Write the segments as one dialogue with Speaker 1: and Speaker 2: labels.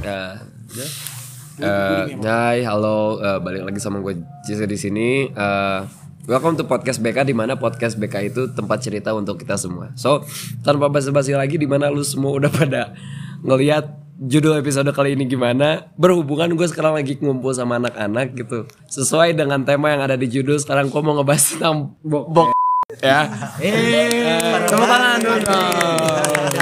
Speaker 1: Iya. Eh, Hai, halo, eh, balik lagi sama gue Jesse di sini. Eh, welcome to podcast BK di mana podcast BK itu tempat cerita untuk kita semua. So, tanpa basa-basi lagi di mana lu semua udah pada ngelihat judul episode kali ini gimana? Berhubungan gue sekarang lagi ngumpul sama anak-anak gitu. Sesuai dengan tema yang ada di judul, sekarang gue mau ngebahas tentang bo- bok ya. Eh, Tepuk tangan dulu dong.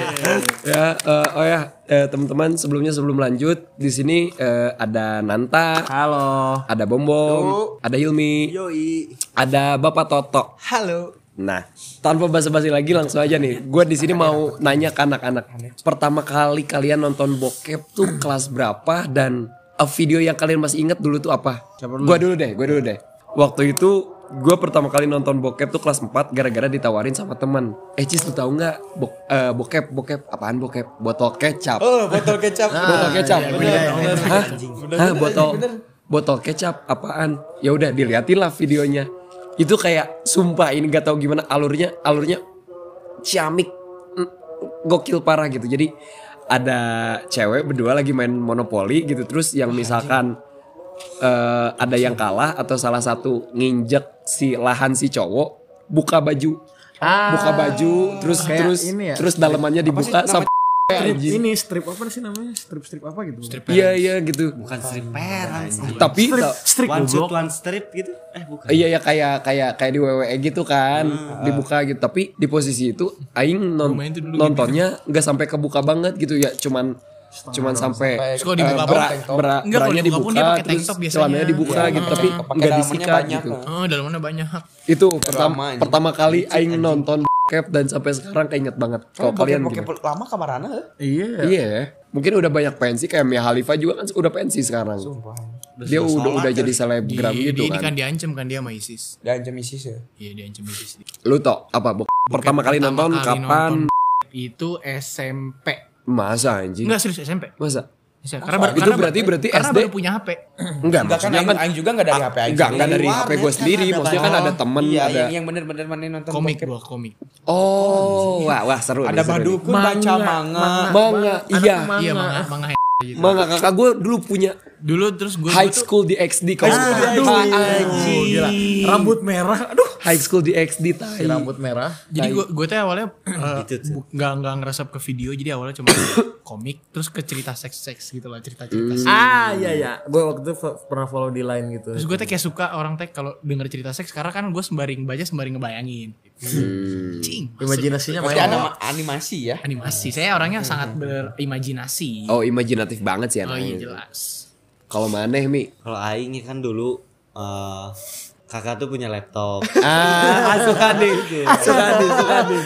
Speaker 1: ya, eh, oh ya, eh, teman-teman sebelumnya sebelum lanjut di sini eh, ada Nanta,
Speaker 2: Halo.
Speaker 1: ada Bombom, ada Hilmi,
Speaker 3: Yoi.
Speaker 1: ada Bapak Toto.
Speaker 3: Halo.
Speaker 1: Nah, tanpa basa-basi lagi langsung aja nih. Gue di sini mau nanya ke anak-anak. Pertama kali kalian nonton bokep tuh kelas berapa dan eh, video yang kalian masih ingat dulu tuh apa? Gue dulu deh, gue dulu deh. Waktu itu gue pertama kali nonton bokep tuh kelas 4 gara-gara ditawarin sama teman. Eh Cis lu tahu nggak bok- eh, bokep bokep apaan bokep? Botol kecap.
Speaker 3: Oh, botol kecap.
Speaker 1: botol kecap.
Speaker 3: iya, bener, bener.
Speaker 1: Hah? Hah, botol botol kecap apaan? Ya udah diliatin lah videonya. Itu kayak sumpah ini gak tahu gimana alurnya, alurnya ciamik Mm, gokil parah gitu. Jadi ada cewek berdua lagi main monopoli gitu terus yang misalkan eh, ada yang kalah atau salah satu nginjek si lahan si cowok buka baju
Speaker 3: Ah.
Speaker 1: buka baju terus
Speaker 2: kayak
Speaker 1: terus
Speaker 2: ini ya,
Speaker 1: terus dalemannya dibuka sampai
Speaker 2: Strip,
Speaker 1: anjing.
Speaker 2: ini strip apa sih namanya? Strip strip apa gitu? Strip.
Speaker 1: Iya iya gitu.
Speaker 4: bukan strip peran sih.
Speaker 1: Tapi ta-
Speaker 2: Strip
Speaker 4: one shoot
Speaker 2: goblok.
Speaker 4: one strip gitu eh bukan
Speaker 1: Iya ya kayak kayak kayak di WWE gitu kan,
Speaker 5: Ah,
Speaker 1: dibuka gitu. Tapi di posisi itu aing non- nontonnya
Speaker 5: gitu.
Speaker 1: nggak sampai kebuka banget gitu ya, cuman cuman sampai
Speaker 5: Terus kalau dibuka
Speaker 1: eh,
Speaker 5: pun
Speaker 1: bra-
Speaker 5: tank top.
Speaker 1: bra-
Speaker 5: Enggak, kalau
Speaker 1: beranya
Speaker 5: dibuka pun dia pakai tank
Speaker 1: terus
Speaker 5: top biasanya. Iya,
Speaker 1: celananya dibuka gitu, tapi nggak disikat gitu.
Speaker 3: eh.
Speaker 5: Oh, dalamannya banyak.
Speaker 1: Itu pertama pertama kali aing nonton bokep dan sampai sekarang keinget banget. Kalau kalian gitu?
Speaker 3: Kalian
Speaker 1: gimana?
Speaker 3: lama eh? kamarana heuh?
Speaker 2: Iya.
Speaker 1: Iya, ya. mungkin udah banyak pensi kayak Mia Khalifa juga kan udah pensi sekarang. Dia udah udah jadi selebgram
Speaker 5: Di,
Speaker 1: gitu
Speaker 5: di- ini
Speaker 1: kan.
Speaker 5: kan diancam kan dia sama ISIS.
Speaker 3: Dan jam isi sih.
Speaker 5: Iya, diancam ISIS.
Speaker 1: Lu tau apa bokep pertama kali
Speaker 5: Pertama
Speaker 1: nonton
Speaker 5: kali
Speaker 1: kapan?
Speaker 5: nonton itu SMP.
Speaker 1: Masa anjing?
Speaker 5: Enggak serius SMP.
Speaker 1: Masa?
Speaker 5: SMP. Karena, ber-
Speaker 1: Itu
Speaker 5: karena ber-
Speaker 1: berarti- berarti
Speaker 5: karena
Speaker 1: SD.
Speaker 5: baru punya HP.
Speaker 1: Enggak,
Speaker 3: Enggak kan
Speaker 1: maksudnya
Speaker 3: aing
Speaker 1: kan
Speaker 3: aing juga enggak dari HP aing.
Speaker 1: enggak enggak dari
Speaker 3: sendiri.
Speaker 1: HP gue sendiri, maksudnya kan ada temen
Speaker 3: Iya,
Speaker 1: ada.
Speaker 3: yang yang bener-bener mana nonton
Speaker 5: Komik
Speaker 3: bokep.
Speaker 5: gua komik.
Speaker 1: Oh, wah wah seru.
Speaker 3: Ada
Speaker 1: nih, seru nih.
Speaker 3: badukun baca manga.
Speaker 1: Manga, iya.
Speaker 5: Iya, manga, manga gitu.
Speaker 1: Manga kakak gue dulu punya
Speaker 5: Dulu terus gua
Speaker 1: High
Speaker 5: gua tuh-
Speaker 1: School DxD kalau lu tahu.
Speaker 2: Aduh, gila. Rambut merah. Aduh.
Speaker 1: High School DxD tai.
Speaker 2: Rambut merah.
Speaker 5: jadi gua gua tuh awalnya eh, bu- nggak nggak ngerasap ke video jadi awalnya cuma komik terus ke cerita seks seks gitu lah cerita cerita
Speaker 1: Hmm.
Speaker 5: seks.
Speaker 2: Ah, iya iya. Gua waktu itu fo- pernah follow di line gitu.
Speaker 5: Terus gue teh kayak suka orang teh kalau denger cerita seks karena kan gue sembari baca sembari ngebayangin.
Speaker 1: Hmm.
Speaker 5: Cing,
Speaker 2: Imajinasinya
Speaker 3: Pasti ada
Speaker 2: main.
Speaker 3: ma- animasi ya.
Speaker 5: animasi. Saya orangnya sangat berimajinasi.
Speaker 1: Oh, imajinatif banget sih anak.
Speaker 5: Oh iya
Speaker 1: ini.
Speaker 5: jelas.
Speaker 1: Kalau maneh Mi.
Speaker 4: kalau aing kan dulu eh, kakak tuh punya laptop gitu.
Speaker 1: Ah, suka nih. Suka nih, suka nih.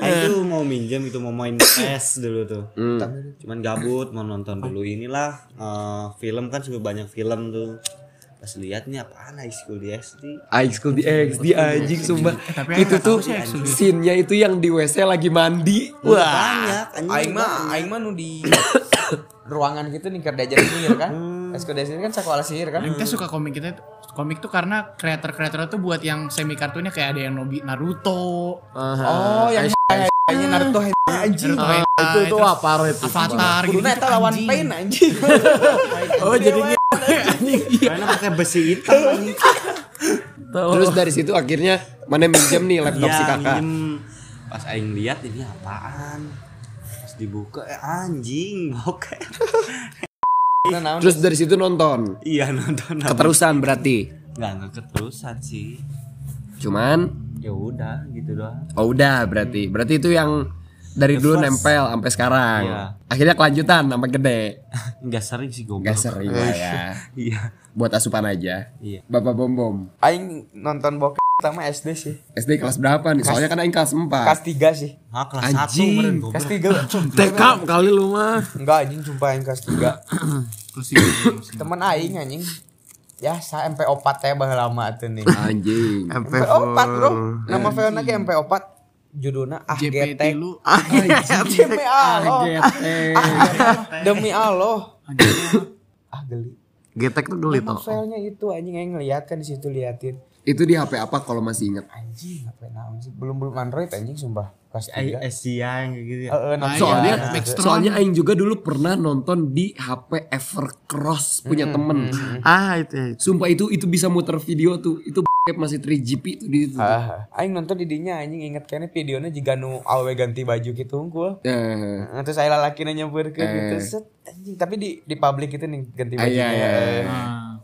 Speaker 4: aing tuh mau minjem itu mau main PS dulu tuh
Speaker 1: Hmm.
Speaker 4: cuman gabut mau nonton dulu inilah eh, film kan suka banyak film tuh pas lihat nih apaan high school di SD
Speaker 1: High School DxD anjing sumpah.
Speaker 5: tapi
Speaker 1: Itu
Speaker 5: anak
Speaker 1: tuh
Speaker 5: aku sih High School DxD.
Speaker 1: scene-nya itu yang di WC lagi mandi.
Speaker 4: banyak anjing.
Speaker 3: Aing mah aing mah nu di ruangan gitu nih kerja jadi sihir kan.
Speaker 1: Hmm.
Speaker 3: Esko dari sini kan sekolah sihir kan.
Speaker 5: Yang teh suka komik kita komik tuh karena kreator kreator tuh buat yang semi kartunya kayak ada yang Nobi Naruto,
Speaker 3: Oh, yang kayaknya Naruto anjing.
Speaker 5: Naruto
Speaker 2: Ah,
Speaker 5: Hentai,
Speaker 2: Itu itu
Speaker 5: terus
Speaker 2: wah parah itu.
Speaker 5: Avatar gitu.
Speaker 3: Nah, itu lawan pain anjing.
Speaker 2: Oh, jadinya
Speaker 4: karena pakai besi hitam anjing.
Speaker 1: Terus dari situ akhirnya mana minjem nih laptop
Speaker 4: Iya,
Speaker 1: si kakak.
Speaker 4: minjem. pas aing lihat ini apaan pas dibuka eh, anjing bokep
Speaker 3: Nah, naon?
Speaker 1: Terus dari situ nonton.
Speaker 4: iya nonton apa?
Speaker 1: Keterusan berarti.
Speaker 4: nggak nggak keterusan sih
Speaker 1: Cuman
Speaker 4: ya udah gitu doang
Speaker 1: oh udah berarti. Berarti itu yang dari dulu nempel sampai sekarang.
Speaker 4: Iya.
Speaker 1: Akhirnya kelanjutan nama gede.
Speaker 4: nggak sering sih goblok
Speaker 1: Gak sering lah ya.
Speaker 4: iya
Speaker 1: Buat asupan aja.
Speaker 4: Iya.
Speaker 1: Bapak Bom Bom.
Speaker 3: aing nonton bokep pertama SD sih.
Speaker 1: SD kelas berapa nih? Soalnya kan aing kelas 4.
Speaker 3: Kelas 3 sih.
Speaker 4: ah kelas satu
Speaker 1: Anjing.
Speaker 4: kemarin
Speaker 3: Kelas
Speaker 4: goblok
Speaker 3: 3.
Speaker 2: TK kali lu mah.
Speaker 3: Enggak anjing jumpa yang kelas 3
Speaker 5: Terus itu-
Speaker 3: Temen aing anjing Ya saya MP4 teh bah lama tuh nih
Speaker 1: Anjing.
Speaker 3: MP4 bro Nama Veona ke MP4 Judulnya ah
Speaker 5: JPT
Speaker 3: getek
Speaker 5: lu
Speaker 2: Ah,
Speaker 3: Demi Allah Demi Allah Ah geli
Speaker 2: Getek tuh geli
Speaker 3: Nama
Speaker 2: tuh.
Speaker 3: filenya itu anjing yang ngeliat kan disitu liatin
Speaker 1: Itu di HP apa kalau masih ingat?
Speaker 3: Anjing, apa yang naon sih? Belum belum Android anjing sumpah. Kelas
Speaker 4: Ay-
Speaker 3: 3.
Speaker 4: Asia yang kayak gitu ya.
Speaker 3: Heeh, nah,
Speaker 1: Soalnya
Speaker 5: Iya, Backstrom.
Speaker 1: soalnya aing juga dulu pernah nonton di HP Evercross punya temen.
Speaker 2: Ah itu. ya, itu.
Speaker 1: Sumpah itu itu bisa muter video tuh. Itu masih 3GP tuh di situ.
Speaker 3: Ah, aing nonton di dinya anjing inget kayaknya videonya jika nu awe ganti baju gitu unggul.
Speaker 1: Eh,
Speaker 3: Nah, Terus saya lalaki nanya ke gitu set anjing tapi di di publik itu nih ganti baju.
Speaker 1: iya, iya,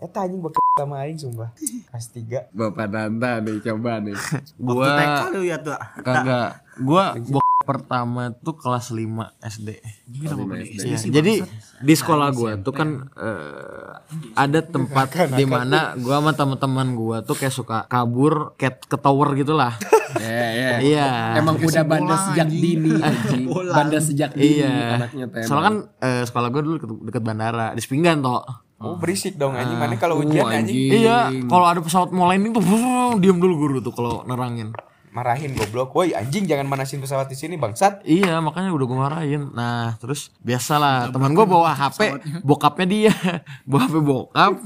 Speaker 3: Eh anjing bek sama aing sumpah. Kelas 3.
Speaker 1: Bapak Nanta nih coba nih.
Speaker 2: Gua
Speaker 4: TK lu ya tuh.
Speaker 2: kagak. Gua bok pertama tuh kelas 5 SD. Iya, jadi di sekolah gua tuh kan eh, ada tempat di mana gua sama teman-teman gua tuh kayak suka kabur cat ke tower gitulah.
Speaker 1: Iya, iya.
Speaker 2: Iya.
Speaker 1: Emang udah bandel sejak dini anjing. Bandel sejak dini
Speaker 2: Iya.
Speaker 1: anaknya teh.
Speaker 2: Soalnya kan eh, sekolah gua dulu deket, deket bandara di Sepinggan toh.
Speaker 3: Oh berisik dong anjing mana kalau ujian anjing
Speaker 2: Iya, kalau ada pesawat mau landing tuh brrrr, diem dulu guru tuh kalau nerangin.
Speaker 3: marahin goblok. Woi anjing jangan manasin pesawat di sini bangsat.
Speaker 2: Iya, makanya udah gue marahin. Nah, terus biasalah teman gua bawa HP, bokapnya dia, bawa HP bokap,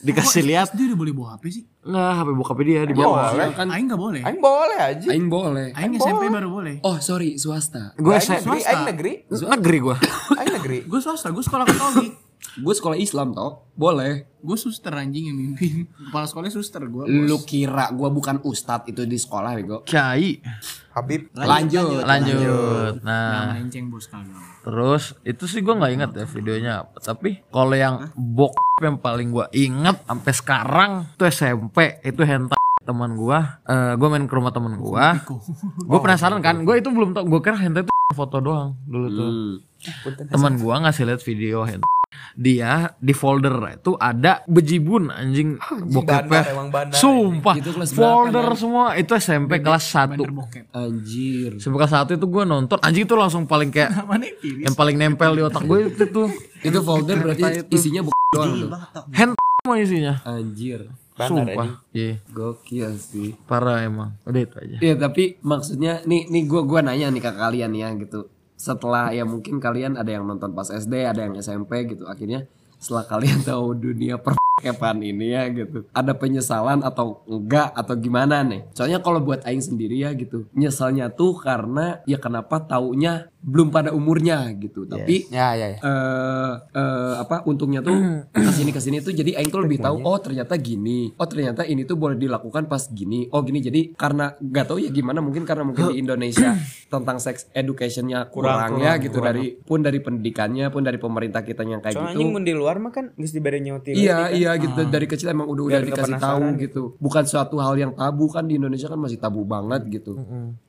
Speaker 2: dikasih lihat,
Speaker 5: Dia udah boleh bawa HP sih?
Speaker 2: nggak HP bokapnya dia dibawa.
Speaker 3: Boleh.
Speaker 5: Kan aing enggak boleh.
Speaker 3: Aing boleh anjing.
Speaker 1: aing boleh.
Speaker 5: Aing SMP baru boleh.
Speaker 1: Oh, sorry, swasta.
Speaker 2: Gue
Speaker 3: Aing negeri, aing negeri,
Speaker 2: negeri gue.
Speaker 3: aing negeri.
Speaker 5: Gue swasta, gue sekolah katolik.
Speaker 1: Gue sekolah Islam toh. Boleh.
Speaker 5: gue suster anjing yang mimpin. Kepala sekolahnya suster gue.
Speaker 1: Lu kira gue bukan ustad itu di sekolah bego.
Speaker 2: Kiai.
Speaker 3: Habib
Speaker 1: Lanjut.
Speaker 2: Lanjut. Nah,
Speaker 5: Menceng bos kagak.
Speaker 2: terus itu sih gue nggak inget ya videonya apa. Tapi kalau yang bok yang paling gue inget sampai sekarang itu SMP itu hentai teman gua Eh, gue main ke rumah teman gua gue penasaran kan gue itu belum tau gue kira hentai itu foto doang dulu tuh teman gua ngasih lihat video hentai dia di folder itu ada bejibun anjing bokepnya
Speaker 3: bandar, emang bandar.
Speaker 2: sumpah
Speaker 1: Itu kelas
Speaker 2: folder semua itu SMP kelas 1
Speaker 5: Bandar bokep.
Speaker 1: Anjir.
Speaker 2: SMP kelas 1 itu gue nonton anjing itu langsung paling kayak
Speaker 5: Mana yang pilih?
Speaker 2: yang paling nempel di otak gue itu tuh
Speaker 1: Itu folder berarti isinya bu doang tuh.
Speaker 2: hand semua isinya
Speaker 1: Anjir.
Speaker 2: sumpah iya
Speaker 1: Gokil sih.
Speaker 2: parah emang udah itu aja
Speaker 1: Iya tapi maksudnya nih nih gue gua nanya nih ke kalian ya gitu. Setelah ya mungkin kalian ada yang nonton pas SD, ada yang SMP gitu. Akhirnya setelah kalian tahu dunia per ini ya gitu. Ada penyesalan atau enggak atau gimana nih? Soalnya kalau buat aing sendiri ya gitu. Nyesalnya tuh karena ya kenapa taunya belum pada umurnya gitu. Tapi
Speaker 3: Ya ya ya.
Speaker 1: eh eh, apa untungnya tuh kesini kesini tuh jadi Aing tuh lebih tahu oh ternyata gini oh ternyata ini tuh boleh dilakukan pas gini oh gini jadi karena gak tahu ya gimana mungkin karena mungkin di Indonesia tentang sex educationnya kurang, ya gitu dari pun dari pendidikannya pun dari pemerintah kita yang kayak
Speaker 3: Soalnya
Speaker 1: gitu
Speaker 3: anjing mun di luar mah kan geus dibere nyoti.
Speaker 1: Iya iya gitu dari kecil emang udah udah dikasih tahu gitu. Bukan suatu hal yang tabu kan di Indonesia kan masih tabu banget gitu.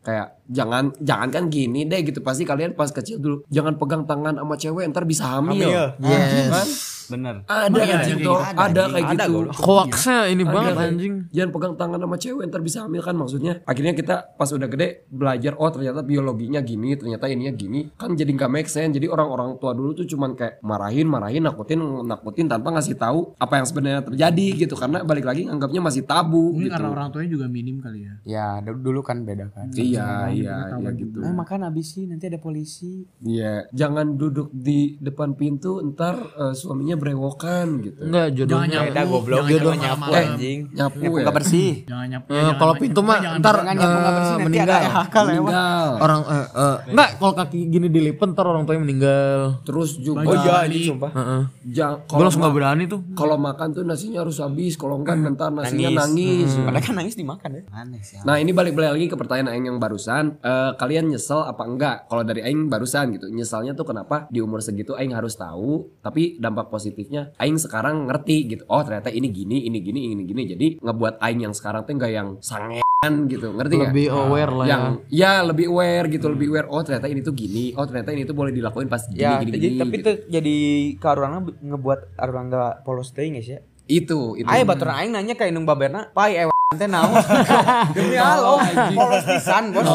Speaker 1: Kayak jangan jangan kan gini deh gitu pasti kalian pas kecil dulu jangan pegang tangan sama cewek ntar bisa hamil. Yes. Kan?
Speaker 4: Bener.
Speaker 1: Ada kan gitu, ada kayak gitu.
Speaker 2: hoaxnya ini banget anjing
Speaker 1: Iya, Jangan pegang tangan sama cewek ntar bisa hamil kan maksudnya. Akhirnya kita pas udah gede belajar oh ternyata biologinya gini, ternyata ininya gini. Kan jadi nggak make sense. Jadi orang-orang tua dulu tuh cuman kayak marahin, marahin, nakutin, nakutin tanpa ngasih tahu apa yang sebenarnya terjadi gitu. Karena balik lagi anggapnya masih tabu
Speaker 5: Mungkin
Speaker 1: gitu.
Speaker 5: karena orang tuanya juga minim kali ya.
Speaker 3: Ya d- dulu kan beda kan.
Speaker 1: Iya, iya, iya gitu.
Speaker 3: Eh makan habis sih nanti ada polisi.
Speaker 1: Iya, jangan duduk di depan pintu ntar eh, suaminya berewokan gitu.
Speaker 2: enggak jodohnya Eh,
Speaker 5: Jangan
Speaker 3: Beda
Speaker 5: nyapu,
Speaker 3: goblok
Speaker 5: jangan
Speaker 3: jodoh
Speaker 5: nyapu
Speaker 3: nyapu
Speaker 5: malam.
Speaker 3: anjing.
Speaker 1: Nyapu
Speaker 3: Nyapu
Speaker 1: ya.
Speaker 3: nggak bersih.
Speaker 5: Jangan nyapu.
Speaker 2: Eh, kalau pintu mah ntar
Speaker 3: Kan
Speaker 2: eh, meninggal
Speaker 3: ya,
Speaker 1: Meninggal.
Speaker 2: orang eh, eh, enggak kalau kaki gini dilipat ntar orang tuanya meninggal
Speaker 1: Terus juga
Speaker 3: Oh iya anjing sumpah.
Speaker 2: Heeh.
Speaker 1: jang-
Speaker 2: gue
Speaker 1: kalau
Speaker 2: langsung nggak berani tuh
Speaker 1: kalau makan tuh nasinya harus habis kalau
Speaker 3: Ah,
Speaker 1: enggak ntar nasinya nangis
Speaker 3: Padahal kan nangis dimakan ya.
Speaker 4: Aneh sih.
Speaker 1: nah ini balik balik lagi ke pertanyaan Aing yang barusan Eh, kalian nyesel apa enggak kalau dari Aing barusan gitu nyesalnya tuh kenapa di umur segitu Aing harus tahu tapi dampak positifnya Aing sekarang ngerti gitu oh ternyata ini gini ini gini ini gini jadi ngebuat Aing yang sekarang tuh enggak yang sangean gitu ngerti nggak
Speaker 2: lebih aware lah ya
Speaker 1: yang ya lebih aware gitu lebih aware oh ternyata ini tuh gini oh ternyata ini tuh boleh dilakuin pas gini
Speaker 3: Ya,
Speaker 1: gini
Speaker 3: jadi
Speaker 1: gini
Speaker 3: tapi
Speaker 1: gitu.
Speaker 3: tuh jadi ke orangnya be- ngebuat orang nggak polos teh nggak sih? ya?
Speaker 1: itu itu
Speaker 3: Ayo batur aing nanya ke Inung Baberna, "Pai ewe teh naon?" Demi Allah, Oh, polos pisan, Bos.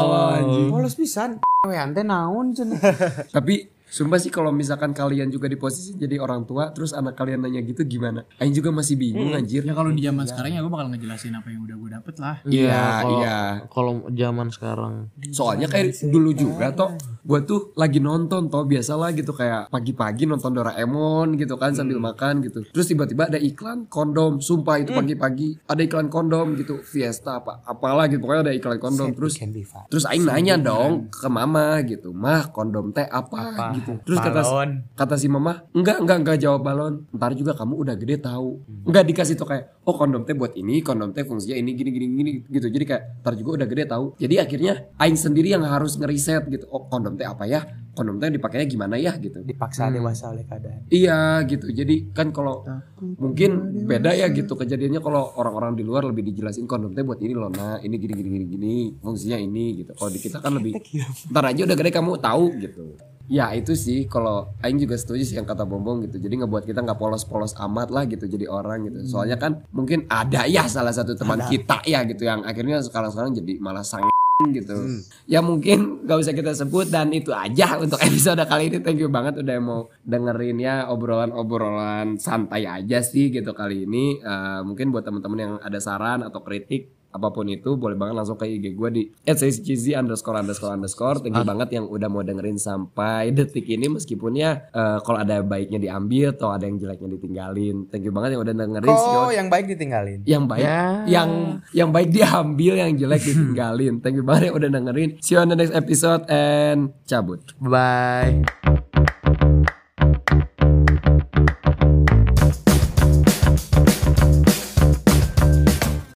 Speaker 3: Polos pisan. Ewe teh naon cenah.
Speaker 1: tapi Sumpah sih kalau misalkan kalian juga di posisi jadi orang tua terus anak kalian nanya gitu gimana? Aing juga masih bingung anjir.
Speaker 5: Ya kalau di zaman sekarang ya gue bakal ngejelasin apa yang udah gue dapet lah.
Speaker 6: Iya,
Speaker 2: kalau-
Speaker 6: iya.
Speaker 2: Kalau zaman sekarang
Speaker 1: Soalnya kayak dulu juga toh gua tuh lagi nonton toh biasalah gitu kayak pagi-pagi nonton Doraemon gitu kan sambil makan gitu. Terus tiba-tiba ada iklan kondom, sumpah itu pagi-pagi ada iklan kondom gitu, Fiesta apa apalah gitu pokoknya ada iklan kondom terus terus aing nanya dong ke mama gitu, "Mah, kondom teh apa?" gitu. Terus kata
Speaker 5: Balon.
Speaker 1: kata si mama, "Enggak, enggak, enggak jawab balon. Ntar juga kamu udah gede tahu." Enggak dikasih tuh kayak, "Oh, kondom teh buat ini, kondom teh fungsinya ini gini gini gini gitu." Jadi kayak ntar juga udah gede tahu. Jadi akhirnya aing sendiri yang harus ngeriset gitu. Oh, kondom teh apa ya? Kondom teh dipakainya gimana ya gitu.
Speaker 3: Dipaksa dewasa oleh keadaan.
Speaker 1: Iya gitu. Jadi kan kalau mungkin beda ya gitu kejadiannya kalau orang-orang di luar lebih dijelasin kondom teh buat ini loh nah ini gini gini gini gini fungsinya ini gitu. Kalau di kita kan lebih ntar aja udah gede kamu tahu gitu. Ya itu sih kalau Aing juga setuju sih yang kata Bombong gitu Jadi ngebuat kita nggak polos-polos amat lah gitu jadi orang gitu Soalnya kan mungkin ada ya salah satu teman kita ya gitu Yang akhirnya sekarang-sekarang jadi malah sang gitu ya mungkin gak usah kita sebut dan itu aja untuk episode kali ini thank you banget udah mau dengerin ya obrolan-obrolan santai aja sih gitu kali ini Eh, mungkin buat teman-teman yang ada saran atau kritik apapun itu boleh banget langsung ke IG gue di @scizi underscore underscore underscore thank you banget yang udah mau dengerin sampai detik ini meskipun ya eh, kalau ada baiknya diambil atau ada yang jeleknya ditinggalin thank you banget yang udah dengerin See you
Speaker 3: Kok yang baik ditinggalin?
Speaker 1: yang baik yang yang baik diambil yang jelek ditinggalin thank you banget ya udah dengerin see you on the next episode and cabut
Speaker 2: bye.